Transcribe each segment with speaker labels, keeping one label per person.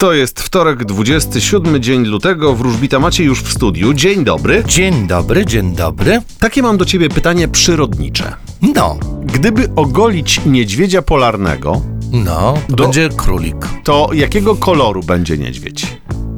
Speaker 1: To jest wtorek, 27 dzień lutego. Wróżbita macie już w studiu. Dzień dobry.
Speaker 2: Dzień dobry, dzień dobry.
Speaker 1: Takie mam do ciebie pytanie przyrodnicze.
Speaker 2: No,
Speaker 1: Gdyby ogolić niedźwiedzia polarnego,
Speaker 2: no, to
Speaker 1: Do-
Speaker 2: będzie królik.
Speaker 1: to jakiego koloru będzie niedźwiedź?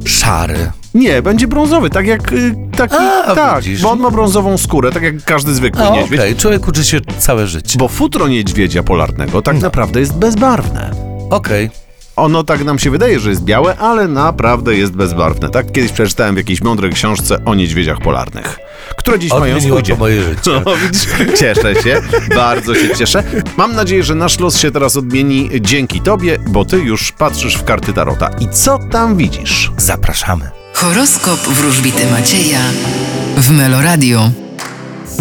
Speaker 2: Szary.
Speaker 1: Nie, będzie brązowy, tak jak y, taki.
Speaker 2: A,
Speaker 1: tak,
Speaker 2: widzisz.
Speaker 1: bo on ma brązową skórę, tak jak każdy zwykły
Speaker 2: A, No, Okej,
Speaker 1: niedźwiedź.
Speaker 2: człowiek uczy się całe życie. No.
Speaker 1: Bo futro niedźwiedzia polarnego tak naprawdę jest bezbarwne.
Speaker 2: Okej.
Speaker 1: Ono tak nam się wydaje, że jest białe, ale naprawdę jest bezbarwne. Tak kiedyś przeczytałem w jakiejś mądrej książce o niedźwiedziach polarnych, które dziś mają
Speaker 2: Odmieniło
Speaker 1: skudzie.
Speaker 2: to moje życie.
Speaker 1: No, widzisz? Cieszę się, bardzo się cieszę. Mam nadzieję, że nasz los się teraz odmieni dzięki tobie, bo ty już patrzysz w karty Tarota. I co tam widzisz?
Speaker 2: Zapraszamy.
Speaker 3: Horoskop wróżbity Macieja w Meloradio.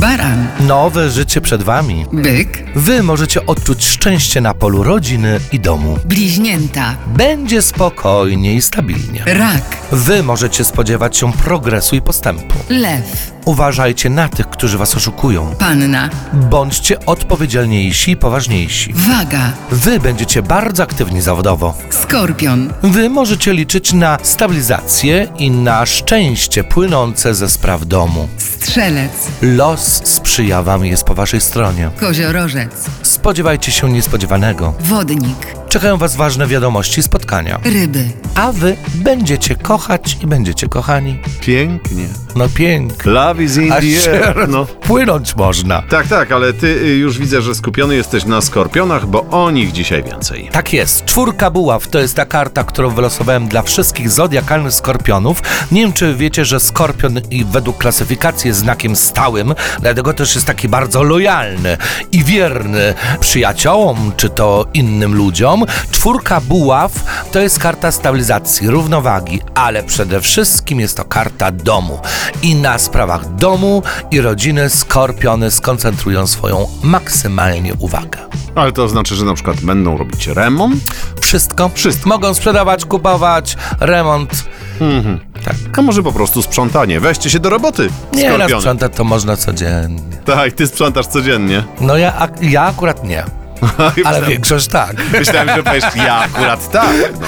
Speaker 3: Baran,
Speaker 2: Nowe życie przed wami.
Speaker 3: byk,
Speaker 2: Wy możecie odczuć szczęście na polu rodziny i domu.
Speaker 3: bliźnięta,
Speaker 2: Będzie spokojnie i stabilnie.
Speaker 3: rak,
Speaker 2: Wy możecie spodziewać się progresu i postępu.
Speaker 3: lew,
Speaker 2: Uważajcie na tych, którzy was oszukują.
Speaker 3: panna,
Speaker 2: Bądźcie odpowiedzialniejsi i poważniejsi.
Speaker 3: waga,
Speaker 2: Wy będziecie bardzo aktywni zawodowo.
Speaker 3: skorpion,
Speaker 2: Wy możecie liczyć na stabilizację i na szczęście płynące ze spraw domu.
Speaker 3: strzelec,
Speaker 2: Los sprzyja Wam i jest po Waszej stronie.
Speaker 3: koziorożec,
Speaker 2: Spodziewajcie się niespodziewanego.
Speaker 3: wodnik,
Speaker 2: Czekają Was ważne wiadomości i spotkania.
Speaker 3: ryby,
Speaker 2: A Wy będziecie kochać i będziecie kochani.
Speaker 1: Pięknie.
Speaker 2: No pięknie.
Speaker 1: Love is in
Speaker 2: Aż
Speaker 1: the
Speaker 2: się
Speaker 1: air. No.
Speaker 2: płynąć można.
Speaker 1: Tak, tak, ale ty y, już widzę, że skupiony jesteś na skorpionach, bo o nich dzisiaj więcej.
Speaker 2: Tak jest. Czwórka buław to jest ta karta, którą wylosowałem dla wszystkich zodiakalnych skorpionów. Nie wiem, czy wiecie, że skorpion i według klasyfikacji jest znakiem stałym, dlatego też jest taki bardzo lojalny i wierny przyjaciołom, czy to innym ludziom. Czwórka buław to jest karta stabilizacji, równowagi, ale przede wszystkim jest to karta domu. I na sprawach domu i rodziny skorpiony skoncentrują swoją maksymalnie uwagę.
Speaker 1: Ale to oznacza, że na przykład będą robić remont,
Speaker 2: Wszystko.
Speaker 1: Wszystko.
Speaker 2: Mogą sprzedawać, kupować, remont. Mhm. Tak.
Speaker 1: a może po prostu sprzątanie. Weźcie się do roboty,
Speaker 2: Nie, no
Speaker 1: skorpiony.
Speaker 2: sprzątać to można codziennie.
Speaker 1: tak, ty sprzątasz codziennie.
Speaker 2: No ja, ak- ja akurat nie, ale
Speaker 1: Myślałem-
Speaker 2: większość tak.
Speaker 1: Myślałem, że powiesz, ja akurat tak. No.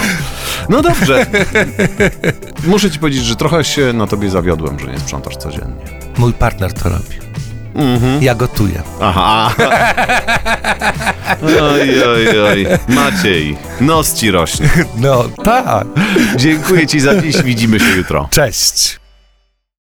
Speaker 1: no dobrze. Muszę ci powiedzieć, że trochę się na tobie zawiodłem, że nie sprzątasz codziennie.
Speaker 2: Mój partner to robi. Ja gotuję.
Speaker 1: Aha. Oj, oj, oj. Maciej, nos ci rośnie.
Speaker 2: No tak.
Speaker 1: Dziękuję ci za dziś, widzimy się jutro.
Speaker 2: Cześć.